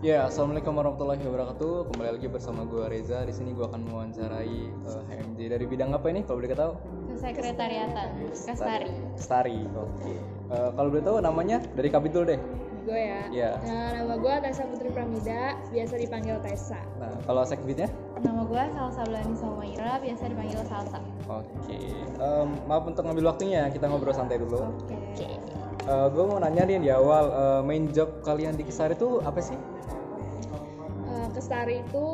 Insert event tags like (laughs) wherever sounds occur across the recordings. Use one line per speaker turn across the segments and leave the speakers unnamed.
Ya, assalamualaikum warahmatullahi wabarakatuh. Kembali lagi bersama gue Reza. Di sini gue akan mewawancarai eh, HMJ dari bidang apa ini? Kalau boleh tahu?
Kesekretariatan, Kastari.
Stari. Oke. Eh, kalau boleh tahu namanya dari Kapitul deh.
Gue ya.
Iya.
Nah, nama gue Tessa Putri Pramida, biasa dipanggil Tessa.
Nah, kalau sekbitnya?
Nama gue Salsa Belani Somaira, biasa dipanggil Salsa.
Oke. Em, maaf untuk ngambil waktunya, kita ngobrol santai dulu.
Oke.
gue mau nanya nih di awal eh, main job kalian di Kisari itu apa sih?
Eh, Kestari itu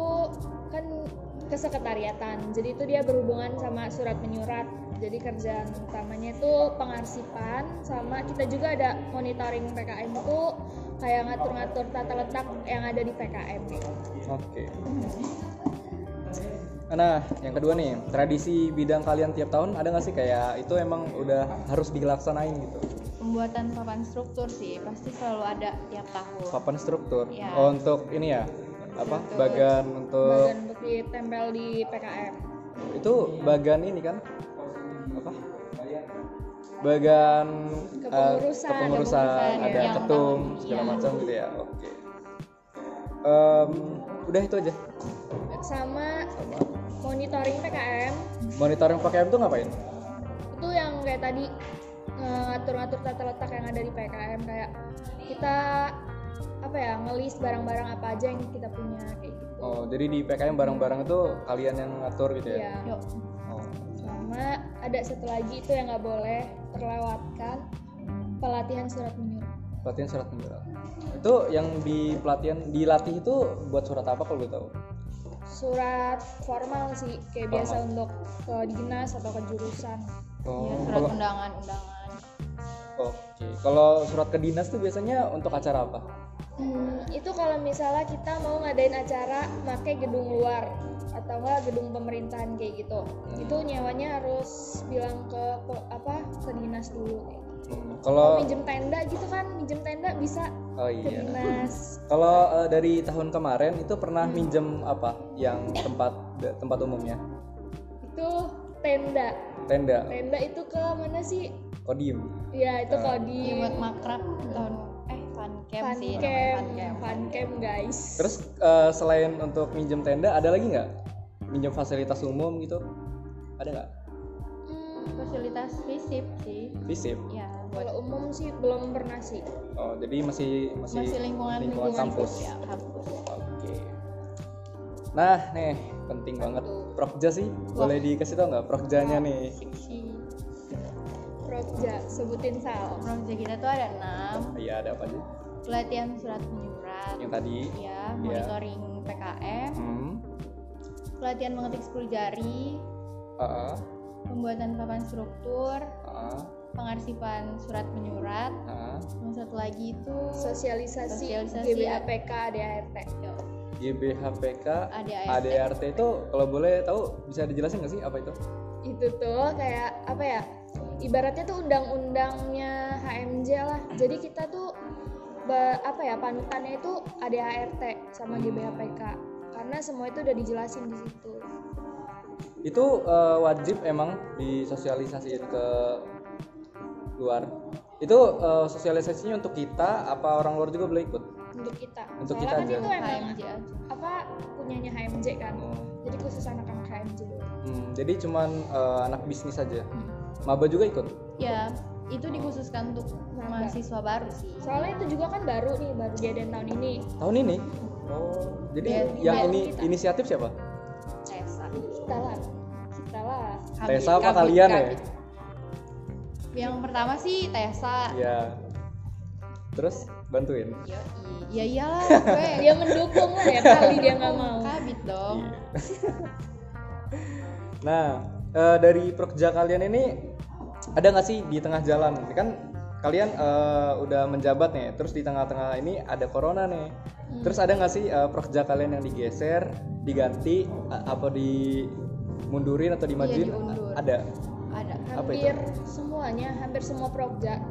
kan kesekretariatan, jadi itu dia berhubungan sama surat menyurat. Jadi kerjaan utamanya itu pengarsipan sama kita juga ada monitoring PKM itu kayak ngatur-ngatur tata letak yang ada di PKM.
Eh. Oke. Nah, yang kedua nih, tradisi bidang kalian tiap tahun ada nggak sih kayak itu emang udah harus dilaksanain gitu?
pembuatan papan struktur sih pasti selalu ada tiap tahun
Papan struktur.
Iya.
Oh, untuk ini ya, apa?
Untuk-
Bagan untuk
Bagian untuk ditempel di PKM.
itu bagan ini kan? Apa? Bagan eh, kepengurusan,
Kepengurusan.
Kepengurusan,
ada
ya.
ketum
Yang-
segala
iya.
macam gitu ya. Oke. Em, udah itu aja.
Sama monitoring PKM
Monitoring PKM tuh ngapain?
itu yang kayak tadi eh, ngatur-ngatur tata letak yang ada di PKM kayak kita apa ya ngelis barang-barang apa aja yang kita punya kayak gitu
Oh, jadi di PKM barang-barang itu kalian yang ngatur gitu ya?
ya
yuk
Oh.
sama ada satu lagi itu yang nggak boleh terlewatkan pelatihan surat menyurat
Pelatihan surat menyurat. Itu yang di pelatihan dilatih itu buat surat apa kalau boleh tahu?
surat formal sih kayak biasa untuk ke dinas atau ke jurusan
Oh.
ya surat
kalau
undangan undangan
oke. Kalau surat ke dinas tuh biasanya untuk acara apa?
Hmm, itu kalau misalnya kita mau ngadain acara pakai gedung luar atau enggak gedung pemerintahan kayak gitu
Hmm.
itu nyewanya harus bilang ke, pe- apa ke dinas dulu kayak gitu.
Hmm,
Mau
Kalau
minjem tenda gitu kan minjem tenda bisa
oh
ke
iya.
dinas Hmm.
Kalau eh, dari tahun kemarin itu pernah minjem apa? Yang tempat tempat umumnya?
itu tenda
Tenda,
tenda itu ke mana sih
kodim. Eh,
ya itu kalau di
ya, buat makrab tahun eh fun camp
fun
sih namanya
camp
fun camp
fun camp guys
Terus eh, selain untuk minjem tenda ada lagi nggak? Minjem fasilitas umum gitu? Ada nggak?
Hmm,
fasilitas fisip sih
Visip.
ya buat
kalau umum sih belum pernah sih
Oh, jadi masih masih,
masih lingkungan
lingkungan kampus.
ya kampus
Oke. Nah, nih penting banget prokja sih. Boleh dikasih tau nggak prokjanya nih?
seksi
Progja sebutin sal
project kita tuh ada enam
Iya, ada apa aja?
pelatihan surat menyurat
Yang tadi.
Iya.
ya monitoring PKM
Hmm.
pelatihan mengetik 10 jari
Aa,
pembuatan papan struktur
aa,
pengarsipan surat menyurat
aa.
yang satu lagi itu
sosialisasi,
Sosialisasi.
GBAPK ADART
GBHPK
ADART.
ADRT itu kalau boleh tahu bisa dijelasin nggak sih apa itu?
itu tuh kayak apa ya ibaratnya tuh undang-undangnya HMJ lah jadi kita tuh ba- apa ya panutannya itu ADHRT sama
Hmm.
GBHPK karena semua itu udah dijelasin di situ
Itu eh, wajib emang disosialisasiin ke luar. Itu eh, sosialisasinya untuk kita apa orang luar juga boleh ikut?
untuk kita
Untuk kita
soalnya kan itu
aja.
emang
HMJ aja.
apa punyanya HMJ kan jadi khusus anak-anak HMJ doang.
Hmm, jadi cuman eh, anak bisnis saja. Maba juga ikut.
ya itu dikhususkan untuk
Maba.
mahasiswa baru sih
soalnya itu juga kan baru nih baru jadian tahun ini
Tahun ini. Oh, jadi
Biar-
yang
biar
ini
kita.
inisiatif siapa?
Tesa
kita lah kita lah
Kabit,
Tesa apa
kabit,
kalian ya?
kabit. yang pertama sih Tesa
Iya. Terus bantuin.
Yoi. ya iyalah gue
(laughs)
dia mendukung lah ya kali dia nggak mau
kabit dong
Iya. (laughs) nah, eh, dari prokerja kalian ini ada nggak sih di tengah jalan? Ini Kan kalian eh, udah menjabat nih, terus di tengah-tengah ini ada corona nih. Terus ada nggak sih eh, prokerja kalian yang digeser, diganti, a- apa dimundurin atau dimajuin? A-
diundur.
ada.
ada
Apa itu?
hampir semuanya hampir semua progja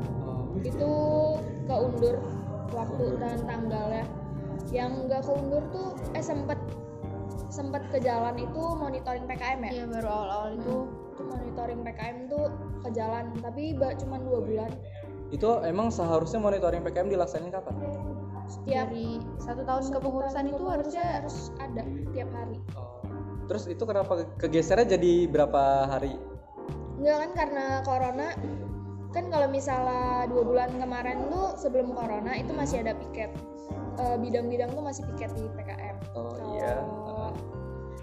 itu keundur waktu dan tanggalnya yang nggak keundur tuh eh sempet sempet ke jalan itu monitoring PKM ya
ya baru awal-awal itu
itu monitoring PKM tuh ke jalan tapi ba- cuman dua bulan
Itu emang seharusnya monitoring PKM dilaksanain kapan?
setiap
dari satu tahun
satu
kepengurusan
tahun
itu
kepengurusan
harusnya
harus ada tiap hari
Oh. Terus itu kenapa kegesernya jadi berapa hari?
Enggak kan karena corona kan kalau misalnya dua bulan kemarin tuh sebelum corona itu masih ada piket Eh, bidang-bidang tuh masih piket di PKM.
Oh
Kalau
iya.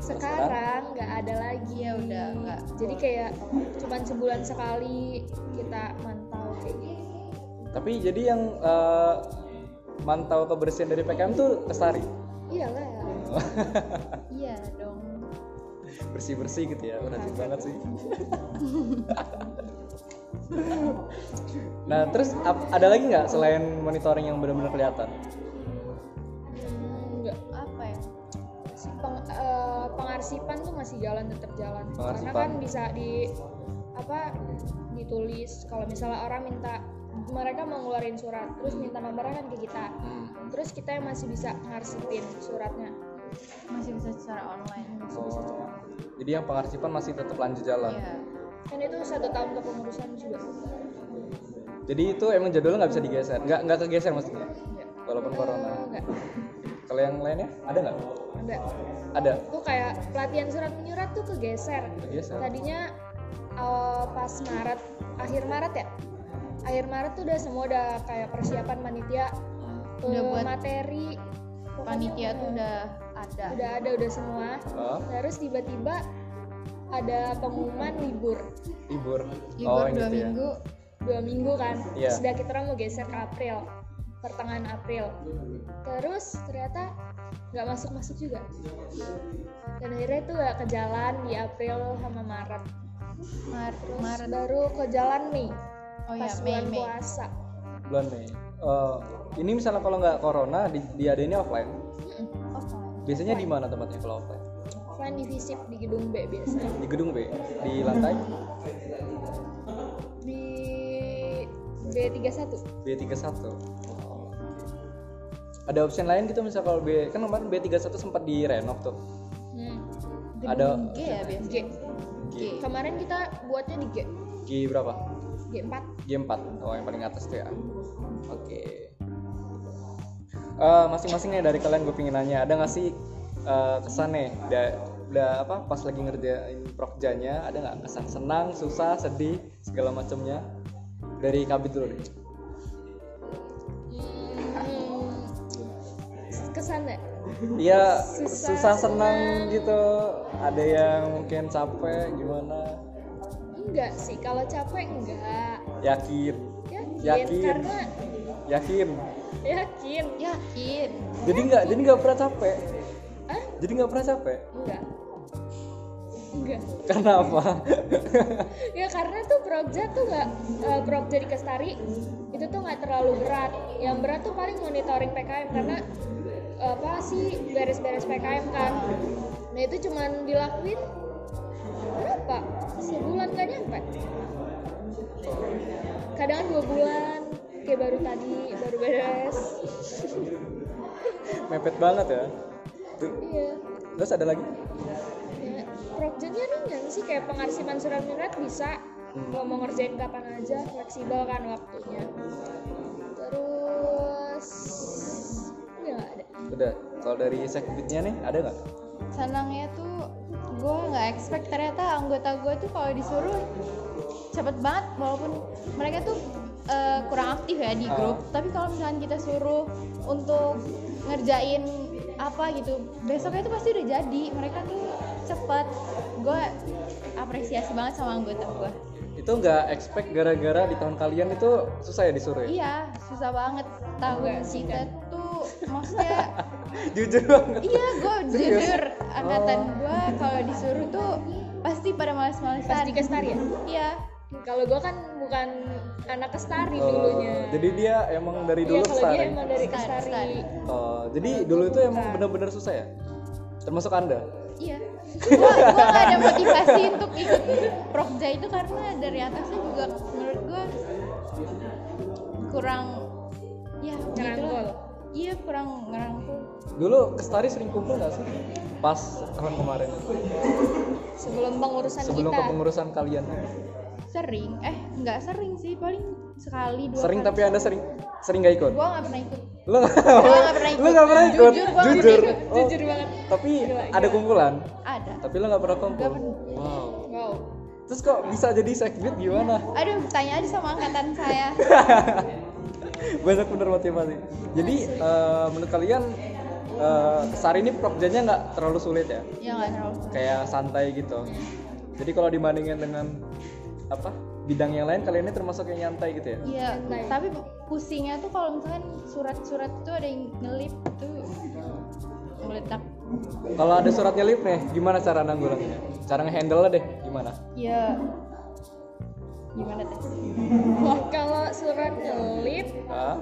Sekarang nggak ada lagi ya
Iya, udah nggak.
Jadi kayak cuman sebulan sekali kita mantau kayak gitu.
Tapi jadi yang eh, mantau kebersihan dari PKM tuh Lestari.
Iyalah.
iya
Oh.
dong
Bersih-bersih gitu ya, rajin banget sih. nah, terus ap- ada lagi nggak selain monitoring yang benar-benar kelihatan?
Hmm, nggak.
apa ya
Peng- eh, pengarsipan tuh masih jalan tetap jalan karena
Pengarsipan.
kan bisa di apa ditulis kalau misalnya orang minta mereka mau ngeluarin surat terus minta nomornya kan ke kita terus kita yang masih bisa ngarsipin suratnya
masih bisa secara online
masih bisa
Oh.
cepat
Jadi yang pengarsipan masih tetap lanjut jalan.
iya
kan itu satu tahun kepengurusan juga
Jadi itu emang jadwalnya nggak bisa digeser, nggak nggak kegeser maksudnya. Walaupun corona.
Oh, enggak
Kalau yang lainnya ada nggak?
enggak
Ada.
itu kayak pelatihan surat menyurat tuh kegeser
Kegeser.
tadinya eh, pas Maret akhir Maret ya akhir Maret tuh udah semua udah kayak persiapan panitia eh,
Udah buat
materi pokoknya
panitia tuh udah ada
udah ada udah semua
Oh,
terus tiba-tiba ada pengumuman libur
libur.
libur
ini tuh
dua
ya.
minggu
dua minggu kan
Iya.
terus udah kita orang mau geser ke April pertengahan April terus ternyata nggak masuk masuk juga dan akhirnya tuh nggak ke jalan di April sama Maret
Maret
terus
Maret
baru ke jalan Mei
oh ya
pas
Mei
bulan
Mei
puasa
Bulan Mei. Eh, ini misalnya kalau nggak corona di, diadainnya offline.
offline
Biasanya di mana tempatnya kalau offline?
offline di Visip di gedung B biasanya
Di gedung B, di lantai
di B31
B31. Ada opsi lain gitu misalnya kalau B kan kemarin B31 sempat direnov tuh.
hmm.
Ada-
Gedung G ya
G
biasanya
G,
kemarin kita buatnya di G
G berapa?
G4
G4. Oh, yang paling atas tuh ya. Oke. Eh, masing-masing nih dari kalian gue pingin nanya, ada nggak sih eh, kesan nih da- da- apa pas lagi ngerjain prokjanya ada nggak kesan senang, susah, sedih, segala macamnya dari kabit dulu deh.
Hmm, kesan ya
Iya susah,
Susah,
senang
senang.
gitu. Ada yang mungkin capek gimana?
enggak sih kalau capek enggak
Yakin,
yakin,
Yakin.
karena
yakin.
yakin
Ya, yakin
Jadi nggak jadi nggak pernah capek.
Hah?
Jadi nggak pernah capek.
enggak enggak
Karena apa?
ya karena tuh Progja tuh nggak eh, Progja di Kestari itu tuh nggak terlalu berat yang berat tuh paling monitoring PKM karena apa sih beres-beres PKM kan nah itu cuman dilakuin berapa sebulan gak nyampe kadang dua bulan kayak baru tadi baru beres
Mepet banget ya. Tuh.
iya
Terus ada lagi?
Ya, Progjanya ringan sih kayak pengarsipan surat menyurat bisa kalau mau ngerjain kapan aja fleksibel kan waktunya terus ya nggak ada
Udah. Kalau dari sekbitnya nih ada nggak?
senangnya tuh gue nggak expect ternyata anggota gue tuh kalau disuruh cepet banget walaupun mereka tuh eh, kurang aktif ya di
Ah.
grup tapi kalau misalkan kita suruh untuk ngerjain apa gitu besoknya tuh pasti udah jadi mereka tuh cepet gue apresiasi banget sama anggota gue
Itu nggak expect gara-gara di tahun kalian itu susah ya disuruh ya?
iya susah banget tahu
Enggak sih,
kita tuh maksudnya
(laughs) Jujur banget.
Iya,
(laughs)
gue
Serius?
jujur angkatan
Oh.
gue kalau disuruh tuh pasti pada males-malesan.
pas di kestari ya
Iya,
kalau gue kan bukan anak kestari dulunya
Oh, jadi dia emang dari
Iya,
dulu
kalau dia
Lestari?
emang dari
Kestari,
kestari,
Kestari.
Oh, jadi dulu itu emang benar-benar susah ya? Termasuk Anda?
iya. Gue gue gak ada motivasi
(laughs)
untuk ikut prokja itu karena dari atasnya juga menurut gue kurang ya gitu
Ngerangkul.
loh. Iya kurang ngerangkul.
Dulu Kestari sering kumpul nggak sih? Pas tahun kemarin
sebelum pengurusan
Sebelum
kita (laughs)
kepengurusan kalian
Sering, eh nggak sering sih paling sekali dua
Sering
kali.
tapi anda sering sering nggak ikut?
Gue nggak pernah ikut.
Lu
Gua nggak pernah ikut.
Lu nggak pernah ikut?
Jujur, gua nggak
Jujur.
pernah ikut.
Oh,
Jujur banget.
Tapi
Gila,
ada
gila.
kumpulan.
Ada.
Tapi lu nggak pernah kumpul.
Nggak pernah.
Wow.
Wow.
Terus kok bisa jadi sekbid gimana? (laughs)
Aduh, tanya aja sama angkatan saya.
banyak bener motivasi jadi eh, menurut kalian eh, Sari ini prokjanya nggak terlalu sulit ya
ya nggak terlalu.
kayak santai gitu jadi kalau dibandingin dengan apa bidang yang lain kalian ini termasuk yang nyantai gitu ya
Iya.
Santai.
Tapi pusingnya tuh kalau misalkan surat-surat tuh ada yang ngelip tuh meledak.
kalau ada surat nyelip nih gimana cara nanggulanginnya cara ngehandle deh gimana
Ya. Gimana teh?
Kalau surat nyelip,
Hah?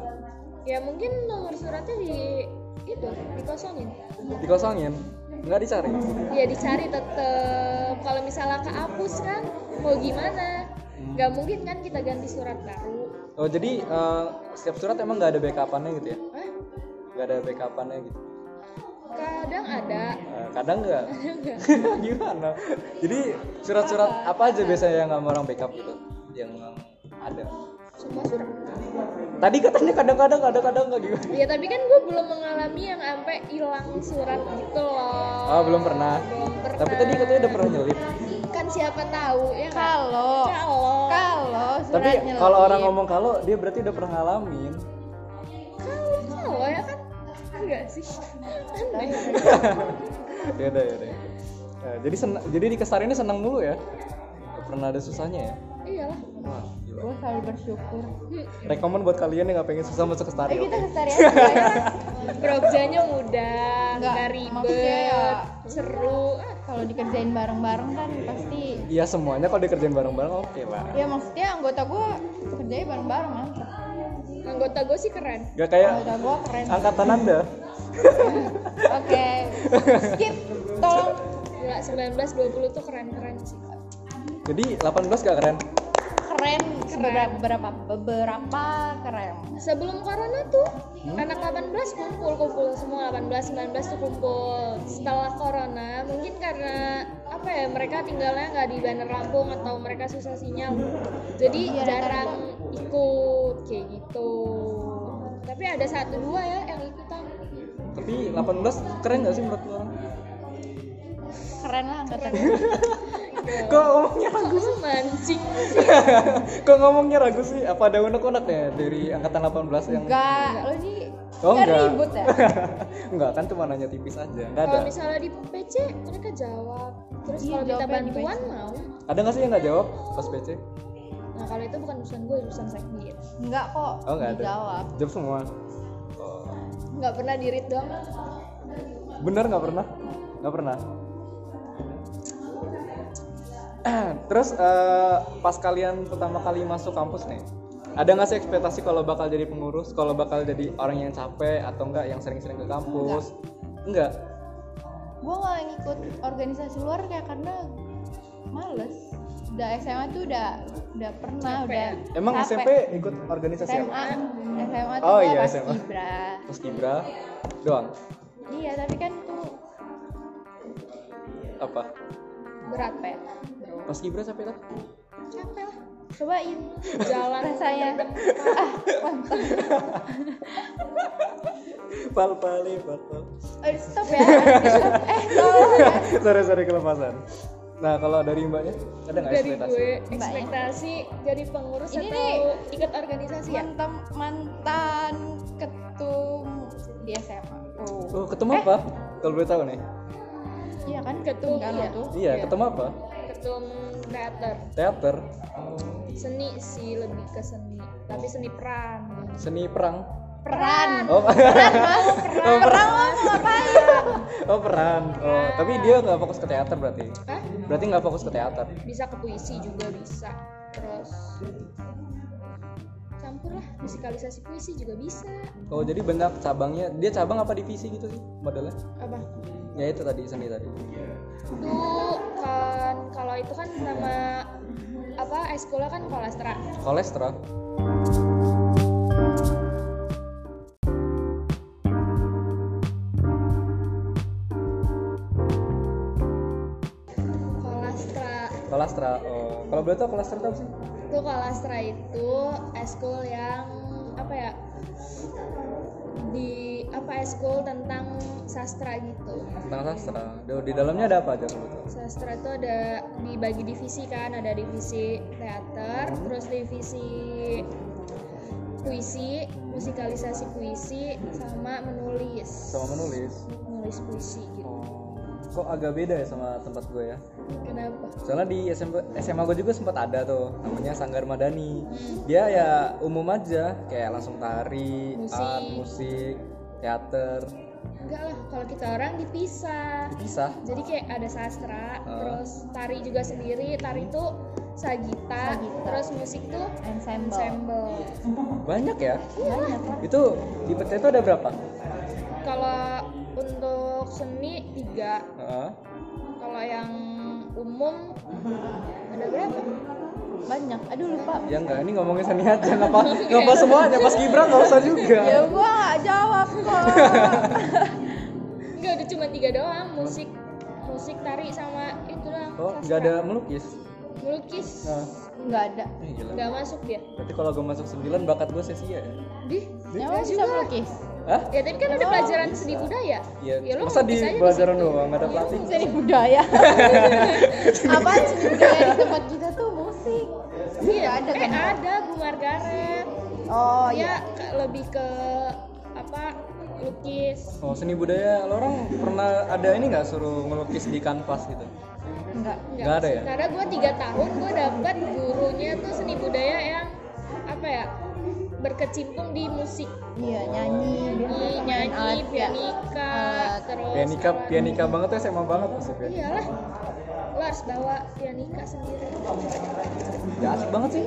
ya mungkin nomor suratnya di itu dikosongin.
dikosongin nggak dicari
Ya dicari tetep. Kalau misalnya kehapus kan, mau gimana? Gak mungkin kan kita ganti surat baru.
oh jadi eh, setiap surat emang nggak ada backupannya gitu ya
Hah?
nggak ada backupannya gitu
Kadang ada.
Eh, kadang nggak (laughs) gimana jadi surat-surat apa aja biasanya yang sama orang backup gitu yang ada
Semua surat.
tadi katanya kadang-kadang kadang-kadang nggak gimana
Ya tapi kan gue belum mengalami yang sampai hilang surat gitu loh.
ah belum pernah
Belum pernah.
tapi tadi katanya udah pernah nyelip
kan siapa tahu ya kan?
Kalau
Kalau
kalau
tapi
surat nyelip.
kalau orang ngomong kalau dia berarti udah pernah ngalamin
kalau kalau ya kan enggak sih. Aneh.
ya udah ya udah Nah, jadi sen- jadi di kesar ini senang mulu ya Nggak pernah ada susahnya ya
Iyalah.
Wah, gila.
gue selalu bersyukur.
rekomen buat kalian yang nggak pengen susah masuk ke
Eh
Sari, oke?
kita ke Sari aja
(laughs)
ya.
Programnya mudah,
Enggak,
nggak
maksudnya
ribet,
ya-
seru. Ah,
Kalau dikerjain bareng-bareng kan pasti
Iya semuanya kalau dikerjain bareng-bareng oke lah.
ya maksudnya anggota gue kerjain bareng-bareng lah.
Ya.
Anggota gue sih keren.
Gak kayak
Anggota gue keren.
angkatan anda.
Oke. Skip. Tolong.
Gila 1920 tuh keren-keren sih.
Jadi 18 gak keren?
Keren. Beberapa beberapa beberapa keren.
Sebelum corona tuh
Hmm?
anak 18 kumpul-kumpul semua 18 19 tuh kumpul. Setelah corona mungkin karena apa ya mereka tinggalnya nggak di Bandar Lampung atau mereka susah sinyal. Jadi
Iya,
jarang ikut kayak gitu. Tapi ada satu dua ya yang ikutan.
Tapi 18 keren gak sih menurut lo orang?
Keren lah anggota gue.
Kok ngomongnya
Kok lu (laughs) mancing
Kok ngomongnya ragu sih? Apa ada unek-unek ya dari angkatan 18 yang
Enggak, lo nih
Oh,
nggak
enggak.
ribut ya?
(laughs) Enggak kan cuma nanya tipis aja. Enggak ada.
Kalau misalnya di PC mereka jawab. Terus
Iya,
kalau minta
jawabnya di
bantuan mau.
Ada gak sih yang gak jawab pas PC?
Nah kalau itu bukan urusan gue, urusan teknik.
Enggak kok.
Oh, enggak ada.
Dijawab.
Jawab semua. Oh.
Nggak pernah dirit doang.
Bener nggak pernah? Nggak pernah. (clears throat) Terus eh, pas kalian pertama kali masuk kampus nih, ada nggak sih ekspektasi kalau bakal jadi pengurus, kalau bakal jadi orang yang capek atau enggak yang sering-sering ke kampus? Enggak.
Gue nggak ngikut organisasi luar kayak karena males. Udah SMA tuh udah udah
Capek
pernah udah.
Emang
capek.
SMP ikut organisasi
SMA
apa?
SMA tuh
Oh,
gua
iya,
pas
SMA.
Ibra.
Terus Ibra doang.
Iya, tapi kan tuh
Apa?
Berat
capek.
Pas Ibra siapa itu? (laughs)
capek lah.
Cobain
jalan
rasanya. ah, mantap.
Pal pali pal pal. (laughs)
Eh, stop ya. Stop. Eh, tolong ya.
sorry sorry kelepasan. Nah kalau dari mbaknya ada nggak
dari
ekspektasi?
gue ekspektasi jadi pengurus
Ini
atau
nih.
ikut organisasi ya
mantan mantan ketum di SMA. Oh.
Oh ketemu apa? Kalau boleh tahu nih.
Iya kan
Ketum,
ketum kan
iya.
lo tuh.
Iya
Iya.
ketemu apa?
ketum teater
Teater,
seni sih lebih ke seni tapi seni peran
seni perang.
Peran.
Oh, (laughs)
Peran, peran lo mau ngapain?
oh perang. Oh, tapi dia nggak fokus ke teater berarti.
Hah?
Berarti nggak fokus ke teater.
bisa ke puisi juga bisa terus campur lah musikalisasi puisi juga bisa
Oh jadi banyak cabangnya. Dia cabang apa divisi gitu sih modelnya?
apa
Ya itu tadi seni tadi.
itu kan kalau itu kan nama apa eskulnya kan kolastra
Kolesterol.
kolastra
Kolesterol. Oh, kalau boleh tahu kolesterol itu apa sih?
itu kolastra itu eskul yang apa ya di apa eskul tentang sastra gitu
tentang sastra Duh, di dalamnya ada apa aja kebetulan
sastra itu ada dibagi divisi kan ada divisi teater
Hmm.
terus divisi puisi musikalisasi puisi sama menulis
sama menulis Oh,
menulis puisi gitu
kok agak beda ya sama tempat gue ya
kenapa
soalnya di SMP, SMA gue juga sempat ada tuh namanya Sanggar Madani
Hmm.
dia ya umum aja kayak langsung tari
Musik.
art musik teater
enggak lah kalau kita orang dipisah
dipisah
jadi kayak ada
Ah.
sastra terus tari juga sendiri tari itu sagita,
Sagita.
terus musik tuh
ensemble,
ensemble Iya.
banyak ya
banyak
itu di peta itu ada berapa
kalau untuk seni tiga
Heeh.
kalau yang umum ada berapa
banyak aduh lupa
ya enggak ini ngomongin seni aja nggak
(laughs)
apa nggak
Iya.
apa semuanya pas Gibran nggak usah juga
ya gua nggak jawab kok
enggak ada cuma tiga doang musik musik tari sama itu doang
oh
sastra.
nggak ada melukis
melukis
nah
nggak ada
eh, gila
nggak masuk dia
berarti kalau gue masuk 9 bakat gue sia-sia ya
di
emang bisa melukis
Hah?
ya tapi kan ada pelajaran seni budaya
Iya.
lo
Masa di
Ya melukis aja Iya,
pelajaran
situ.
doang nggak ada pelatih?
seni
(laughs)
budaya apa seni budaya di tempat kita tuh musik
iya
Nggak
ada
ada
eh
kan
ada Bu Margaret
oh
dia
iya
ke- lebih ke apa lukis
Oh seni budaya, lo orang pernah ada ini nggak suruh melukis di kanvas gitu?
enggak
Nggak ada ya?
karena gue tiga tahun gue dapat gurunya tuh seni budaya yang apa ya berkecimpung di musik
iya nyanyi
Nyanyi,
main
nyanyi
alat, ya.
pianika
Alat.
terus
Pianika,
apa-
pianika banget tuh ya? SMA banget maksudnya.
iyalah lo harus bawa pianika sendiri
Gak
(laughs)
Ya, asik banget sih.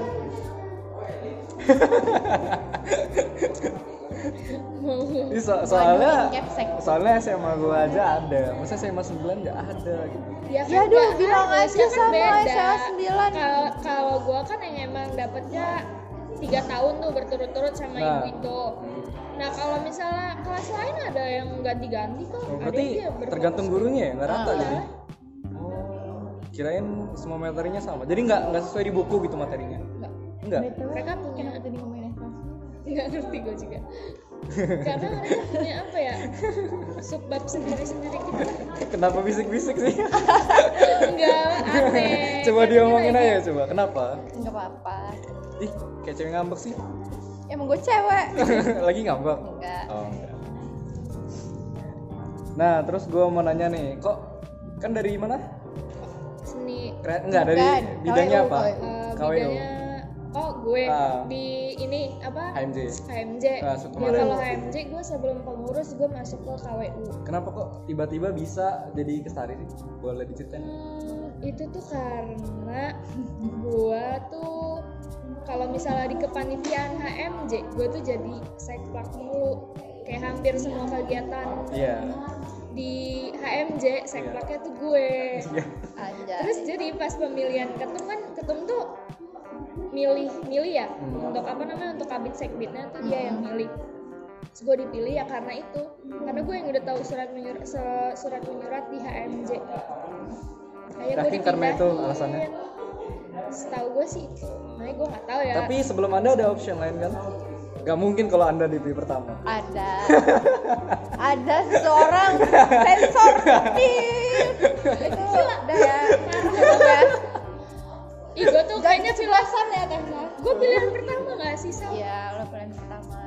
Ini so- soalnya
Waduh, nyepsek.
soalnya SMA gua aja ada, masa SMA 9 nggak ada gitu.
ya
Ya
udah kan
aduh, bilang aja sama SMA 9.
kalau kalau gue kan yang emang dapetnya tiga tahun tuh berturut-turut sama
Nah.
ibu itu nah kalau misalnya kelas lain ada yang ganti-ganti kok
Oh,
ada iya, yang
berarti
dia berfokus.
tergantung gurunya ya, nggak rata
Ah.
jadi. Oh, kirain semua materinya sama. Jadi nggak nggak sesuai di buku gitu materinya.
Nggak.
Enggak.
mereka punya
kenapa tadi ngomongin SMA
nggak ngerti gue juga karena mereka punya apa ya subbab sendiri-sendiri gitu lah.
Kenapa bisik-bisik sih?
enggak aneh
coba
Kan
diomongin
kita
aja
ini-
coba. Kenapa?
enggak apa-apa
Ih, kayak cewek ngambek sih. (laughs)
emang gue cewek
Lagi ngambek.
enggak
Oh, enggak. Nah, terus gue mau nanya nih, kok kan dari mana?
seni
Keren, enggak dari
Bukan,
bidangnya
KWU,
apa?
eh,
KWU.
bidangnya oh gue
Ah.
di ini apa
HMJ.
HMJ
Ah, so
ya
kemarin.
kalau HMJ gue sebelum pengurus gue masuk ke KWU
Kenapa kok tiba-tiba bisa jadi kestari sih? Boleh diceritain?
Hmm, itu tuh karena (laughs) gua tuh kalau misalnya di kepanitiaan HMJ gua tuh jadi sekplak mulu kayak hampir semua kegiatan
Iya.
di HMJ sekplaknya tuh gue
Iya.
aja
terus jadi pas pemilihan ketum kan ketum tuh milih milih ya
Hmm.
untuk apa namanya untuk kabit sekbitnya tuh dia yang milih terus gue dipilih ya karena itu
Hmm.
karena gue yang udah tahu surat menyurat surat menyurat di HMJ kayak
Yakin karena itu alasannya?
Iya. setahu gue sih makanya gue nggak tahu ya
Tapi sebelum Anda ada option lain kan? Gak mungkin kalau Anda di pilih pertama.
ada ada seorang sensor itu udah ya cukup ya
ih gue tuh kayaknya pilih
kejelasan ya kan Sa?
gue pilihan pertama nggak sih Sal?
ya lo pilihan pertama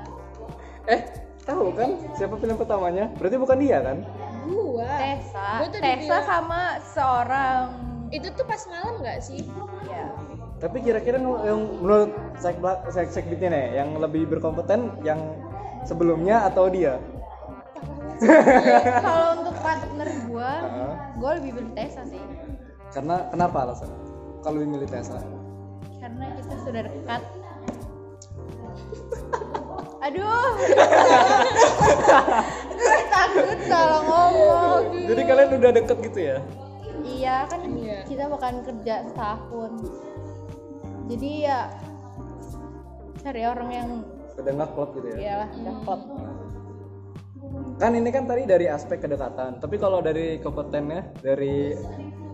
Eh, tahu kan siapa pilihan pertamanya? Berarti bukan dia kan?
gue
Tessa
Ah, Gua tuh
Tessa
dibilang-
sama seorang
itu tuh pas malam nggak sih (laughs)
ya
Tapi kira-kira nu- yang menurut sek sek sekbitnya nih, yang lebih berkompeten yang sebelumnya atau dia?
kalau untuk partner gue
Heeh.
gue lebih pilih Tessa sih
Karena kenapa alasan? Kalau lebih milih Tesla.
karena kita sudah
(laughs)
dekat aduh (laughs) gue takut kalau ngomong
Jadi kalian udah deket gitu ya?
iya kan
Iya.
kita bakalan kerja setahun jadi ya cari orang yang
Udah ngeklop gitu ya?
iyalah
Hmm.
udah klop
Kan ini kan tadi dari aspek kedekatan, tapi kalau dari kompetennya dari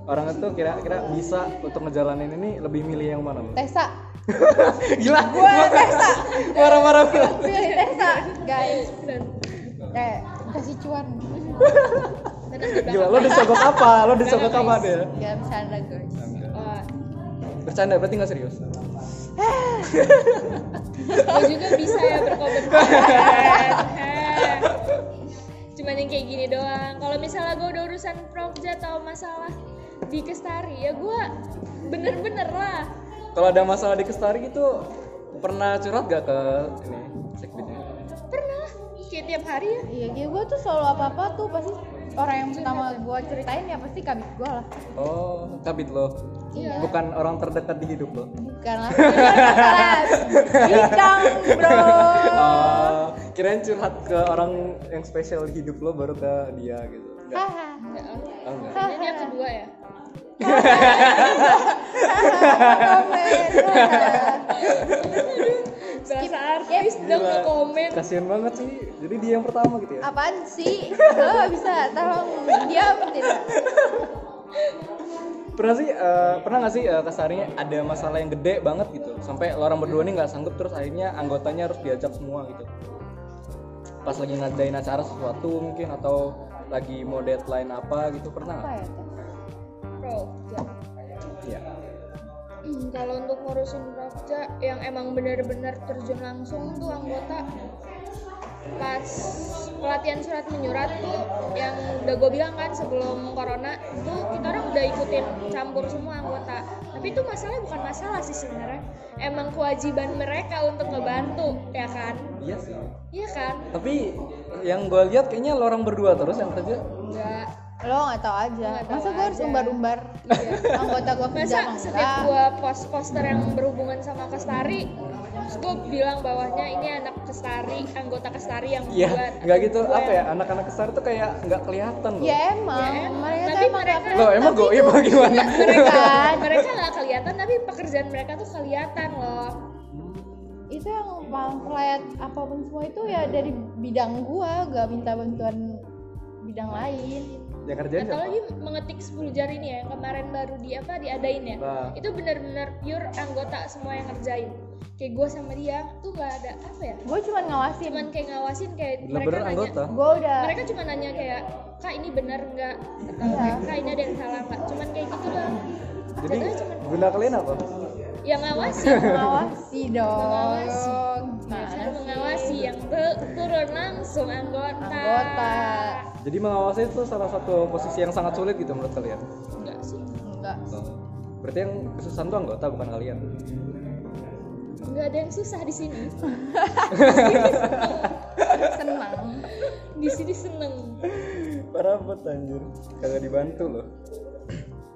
orang itu kira-kira bisa untuk ngejalanin ini lebih milih yang mana? Bu?
Tessa
(laughs) Gila,
Gua Tessa.
marah-marah banget.
Pilih
(laughs)
Tessa,
Iya.
guys.
Dan
Eh, kasih cuan.
dan ada
Gila,
belakang.
lo disogok apa? Lo disogok apa deh?
Gak bercanda guys.
Oh,
Bercanda, berarti nggak serius.
lo juga bisa ya berkomentar. Heh. Cuman yang kayak gini doang. Kalau misalnya gue udah urusan Progja atau masalah di Kestari ya gue bener-bener lah.
Kalau ada masalah di Kestari gitu, pernah curhat gak ke ini sekbidnya?
Pernah lah, kayak tiap hari ya.
Iya, kayak gue tuh selalu apa-apa tuh pasti orang yang pertama gue ceritain ya pasti kabit gue lah.
Oh, kabit lo.
Iya. Oh.
Bukan orang terdekat di hidup lo.
Bukan
(laughs)
lah. Iya, Bintang, bro.
Oh, kirain curhat ke orang yang spesial di hidup lo baru ke dia gitu. Enggak.
Haha.
Nggak, oh.
Oh, enggak.
Ini dia kedua ya.
Komen. haha.
Bahasa artis dong
Gila.
lo komen.
Kasian banget sih. Jadi dia yang pertama gitu ya.
Apaan sih? Lo gak bisa, tolong diam tidak.
Pernah sih eh, pernah nggak sih eh, kasarnya ada masalah yang gede banget gitu. Sampai lo orang berdua nih nggak sanggup terus akhirnya anggotanya harus diajak semua gitu. Pas lagi ngadain acara sesuatu mungkin atau lagi mau deadline apa gitu pernah
Apa
nggak?
ya? tuh?
Progja.
Iya.
Hmm, Kalau untuk ngurusin Progja yang emang benar-benar terjun langsung tuh anggota pas pelatihan surat menyurat tuh yang udah gue bilang kan sebelum corona tuh kita orang udah ikutin campur semua anggota tapi itu masalah bukan masalah sih sebenarnya emang kewajiban mereka untuk ngebantu ya kan
Iya sih.
iya kan
Tapi yang gue lihat kayaknya lo orang berdua terus yang kerja.
enggak
Lo gak tau aja.
Nggak tahu
Masa gue harus
aja.
umbar-umbar
Iya.
anggota gue kerja
masa
apa
setiap
enggak?
gua post poster yang berhubungan sama Kestari terus gua bilang bawahnya ini anak Kestari anggota Kestari yang
Iya,
buat
nggak gitu
Gua
apa ya? Anak-anak kesar tuh kayak nggak kelihatan loh.
Ya emang,
Ya,
mereka
tapi Iya.
tuh emang gak
mereka-
Loh, Oh, emang goib apa gimana?
mereka
Kan?
(laughs) mereka nggak kelihatan tapi pekerjaan mereka tuh kelihatan loh
itu yang paling pelayat apapun semua itu ya dari bidang gua gak minta bantuan bidang lain
Yang Ya, kerjaan
atau
siapa?
lagi mengetik 10 jari nih ya yang kemarin baru di apa diadain ya
Nah.
itu benar-benar pure anggota semua yang ngerjain kayak gua sama dia tuh nggak ada apa ya
gua cuman ngawasin
cuman kayak ngawasin kayak mereka
Bener-bener
nanya
anggota.
gua udah
mereka cuma nanya kayak kak ini benar nggak atau
Iya.
kak ini ada yang salah nggak cuman kayak gitu doang
Jadi
Jatuhnya cuman
guna kalian apa?
yang
(laughs)
ngawasin
ngawasi dong
Mengawasi.
Mana
Biasanya
sih?
mengawasi yang tu- turun langsung anggota
Anggota.
Jadi mengawasi itu salah satu posisi yang sangat sulit gitu menurut kalian.
enggak sih
enggak
Berarti yang kesusahan tuh anggota bukan kalian.
enggak ada yang susah di sini
senang
di sini seneng
Parah banget anjir. Kagak dibantu loh.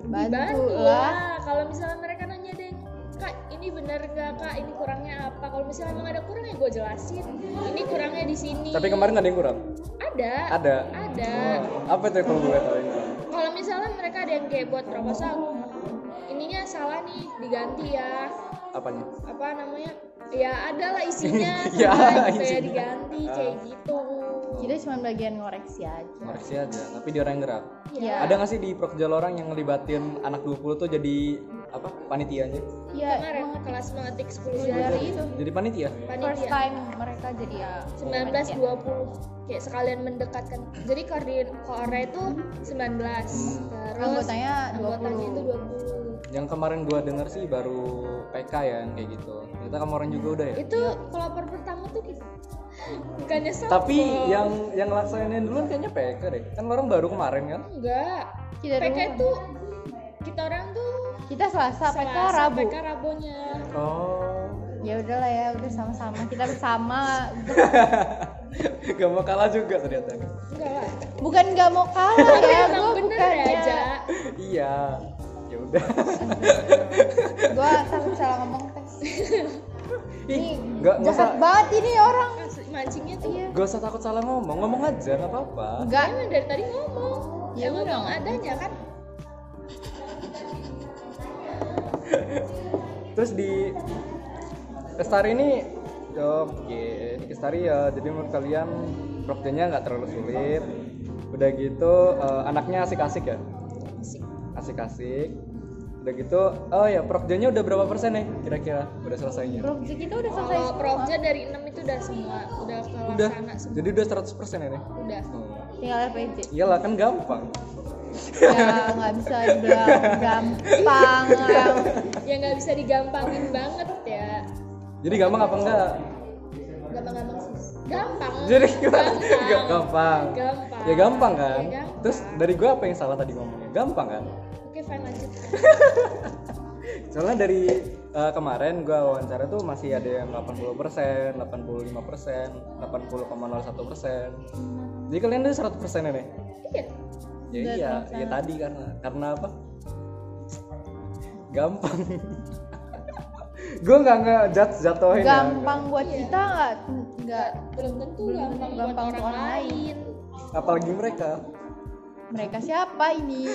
bantu
dibantu
lah
lah kalau misalnya mereka nanya deh kak ini benar nggak kak ini kurangnya apa kalau misalnya emang ada kurang ya gue jelasin ini kurangnya di sini
Tapi kemarin nggak ada yang kurang.
ada
Ada.
ada
Apa tuh kalau gue tahu ini?
kalau misalnya mereka ada yang kayak buat proposal ininya salah nih diganti ya
Apanya?
apa namanya ya ada lah isinya
(laughs) Ya,
sama gitu ya
isinya. Ah.
diganti kayak gitu
kita cuman bagian ngoreksi aja
Ngoreksi aja, tapi dia orang yang gerak.
ya
Ada nggak sih di Prokjol orang yang ngelibatin anak 20 tuh jadi apa? Panitianya?
ya
kemarin kelas mengetik 10
dari
jari
itu
Jadi panitia?
first
panitia
time mereka jadi ya
19 20 kayak sekalian mendekatkan jadi koordin koordinat itu 19 terus
Anggotanya 20.
anggotanya itu
Yang kemarin gua denger sih baru PK ya yang kayak gitu. Ternyata kemarin juga udah ya.
20 itu
Iya.
pelopor pertama tuh kita bukannya sombong
Tapi yang yang laksanain duluan kayaknya PK deh. Kan orang baru kemarin kan.
enggak
Kita
PK
duluan.
itu kita orang tuh
kita selasa PK
Selasa,
rabu
PK Rabonya
Oh.
ya udahlah ya udah sama-sama kita bersama
(laughs) Gak mau kalah juga ternyata.
enggak lah
bukan nggak mau kalah ya
Emang
gue
bener
bukan
ya
aja
Ja?
iya. Ya udah.
gue takut salah ngomong tes
Ih,
Ini
nggak nggak usah
jahat banget ini orang
Asli, mancingnya tuh
Iya.
ya
nggak usah takut salah ngomong. Ngomong aja nggak apa-apa.
enggak
emang dari tadi ngomong
Ya
ya
udah.
ngomong adanya kan
Terus di Kestari ini oh, Oke, di Kestari ya jadi menurut kalian Prokjanya nggak terlalu sulit. Udah gitu eh, anaknya asik-asik ya.
Asik.
asik-asik udah gitu oh ya prokjanya udah berapa persen ya kira-kira udah selesainya
Project kita udah selesai
Kalau
semua.
Progja dari 6 itu udah semua, udah
udah
terlaksana semua.
jadi udah 100 persen ya nih
Udah.
Tinggal RPG.
iyalah kan gampang
ya nggak bisa dibilang gampang. Em.
Ya nggak bisa digampangin banget ya.
jadi gampang apa enggak
Gampang-gampang sih. Gampang.
jadi gimana?
gampang.
gampang
Gampang.
ya gampang kan
Ya, gampang.
terus dari gue apa yang salah tadi ngomongnya gampang kan
Oke, fine lanjut.
soalnya dari eh, kemarin gue wawancara tuh masih ada yang 80 persen 85 persen 80,01 persen jadi kalian tuh 100 persen ya nih
Iya.
ya
Udah
iya
terasa.
ya tadi karena karena apa gampang (laughs) gue nggak nggak jat- jatohin ya.
gampang buat kita nggak nggak
Belum tentu
Belum
gampang,
tentu
buat
gampang
orang,
orang
lain.
apalagi mereka
mereka siapa ini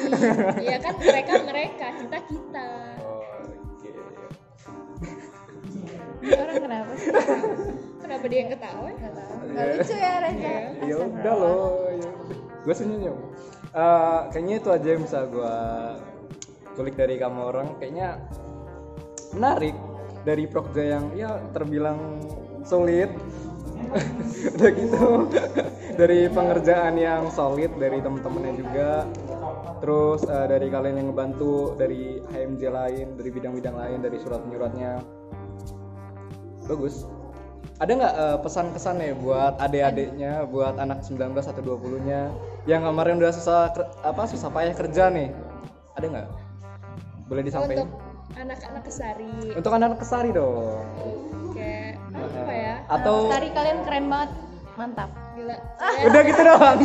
Iya kan mereka mereka, kita kita.
oke
Ini orang kenapa sih
Kenapa dia yang ketawa?
nggak tahu nggak lucu ya Reza
ya udah loh iya. gue senyum Eh, kayaknya itu aja yang bisa gue kulik dari kamu orang kayaknya menarik dari Prokja yang ya terbilang sulit (laughs) udah gitu (laughs) dari pengerjaan yang solid dari temen-temennya juga terus eh, dari kalian yang ngebantu dari HMJ lain dari bidang-bidang lain dari surat menyuratnya bagus ada nggak eh, pesan-pesan ya buat adik-adiknya buat anak 19 atau 20 nya yang kemarin udah susah ker- apa susah payah kerja nih ada nggak boleh disampaikan
Untuk anak-anak kesari.
untuk anak-anak kesari dong
Kayak apa ya?
atau
tari kalian keren banget mantap
Gila.
udah gitu doang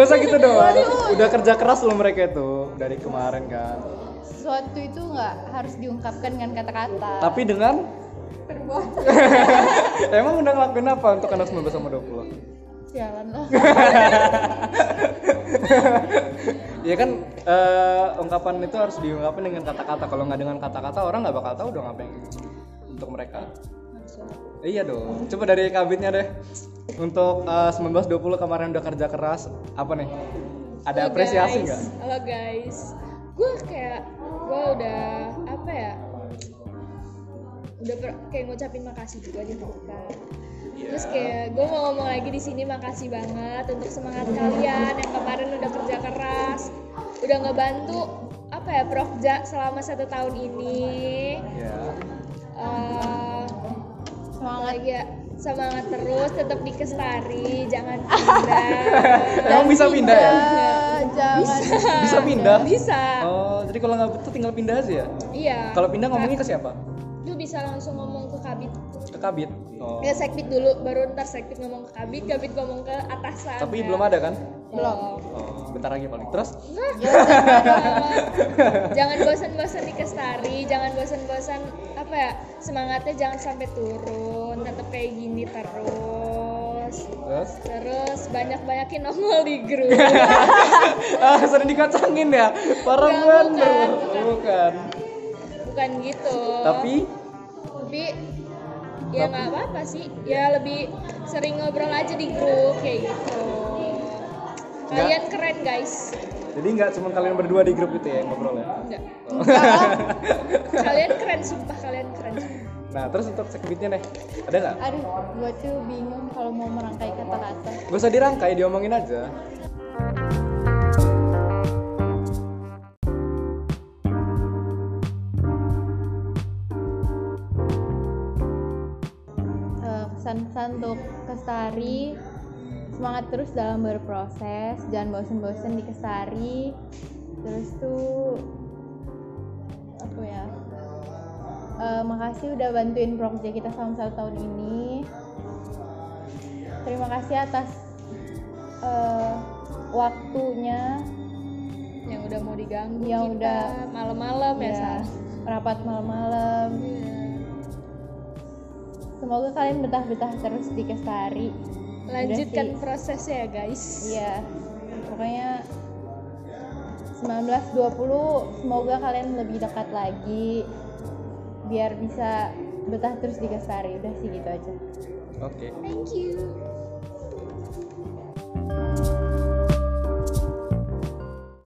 gak usah gitu doang udah kerja keras loh mereka itu dari kemarin kan
sesuatu itu nggak harus diungkapkan dengan kata-kata
tapi dengan (laughs) emang udah ngelakuin apa untuk anak 19 sama 20
jalan lah
ya kan eh, ungkapan itu harus diungkapin dengan kata-kata kalau nggak dengan kata-kata orang nggak bakal tahu dong apa yang untuk mereka iya dong coba dari kabinnya deh untuk eh, 19-20 kemarin udah kerja keras apa nih ada
Halo,
apresiasi
guys.
nggak
Halo guys. Gue kayak gue udah apa ya? Udah per- kayak ngucapin makasih juga di kita. Terus
Iya.
kayak gue mau ngomong lagi di sini makasih banget untuk semangat kalian yang kemarin udah kerja keras, udah ngebantu apa ya Profja selama satu tahun ini.
ya
Eh,
(laughs)
Semangat
semangat
ya, semangat terus, tetap di Kestari, jangan pindah.
emang bisa pindah
(laughs)
ya
Eh, jangan
(laughs) bisa pindah
bisa.
Oh, jadi kalau nggak betul tinggal pindah aja ya?
Iya.
Kalau pindah ngomongnya ke siapa?
lu bisa langsung ngomong ke kabit.
Ke kabit. Oh.
Ya sekbid dulu, baru ntar sekbid ngomong ke kabit, kabit ngomong ke atasan.
Tapi belum ada kan?
Belum.
Oh, bentar lagi paling. Terus
Nggak,
(laughs)
jangan banget. jangan bosan-bosan di Kestari, jangan bosan-bosan apa ya? Semangatnya jangan sampai turun, tetap kayak gini terus.
terus
Terus banyak-banyakin nongol di
(laughs)
grup.
ah, sering dikacangin ya? Parah
Nggak,
bener.
bukan,
Bukan.
bukan gitu
Tapi
tapi ya nggak apa apa sih ya lebih sering ngobrol aja di grup kayak gitu kalian keren guys
jadi nggak cuma kalian berdua di grup itu ya yang ngobrol ya.
enggak
Oh.
kalian keren sumpah kalian keren
Nah, terus untuk sekbitnya nih, ada nggak?
aduh gue tuh bingung kalau mau merangkai kata-kata
Gak usah dirangkai, diomongin aja.
Eh, pesan-pesan untuk Kestari semangat terus dalam berproses jangan bosen-bosen di Kestari terus tuh apa ya Eh, makasih udah bantuin proyek kita selama satu tahun ini terima kasih atas eh, waktunya
yang udah mau diganggu
Yang
kita
udah.
malam-malam ya,
Ya,
Sar.
rapat malam-malam semoga kalian betah-betah terus di Kestari
lanjutkan
Udah sih.
prosesnya ya guys
Iya, pokoknya 1920 semoga kalian lebih dekat lagi biar bisa betah terus di Kestari. Udah sih gitu aja.
Oke.
thank you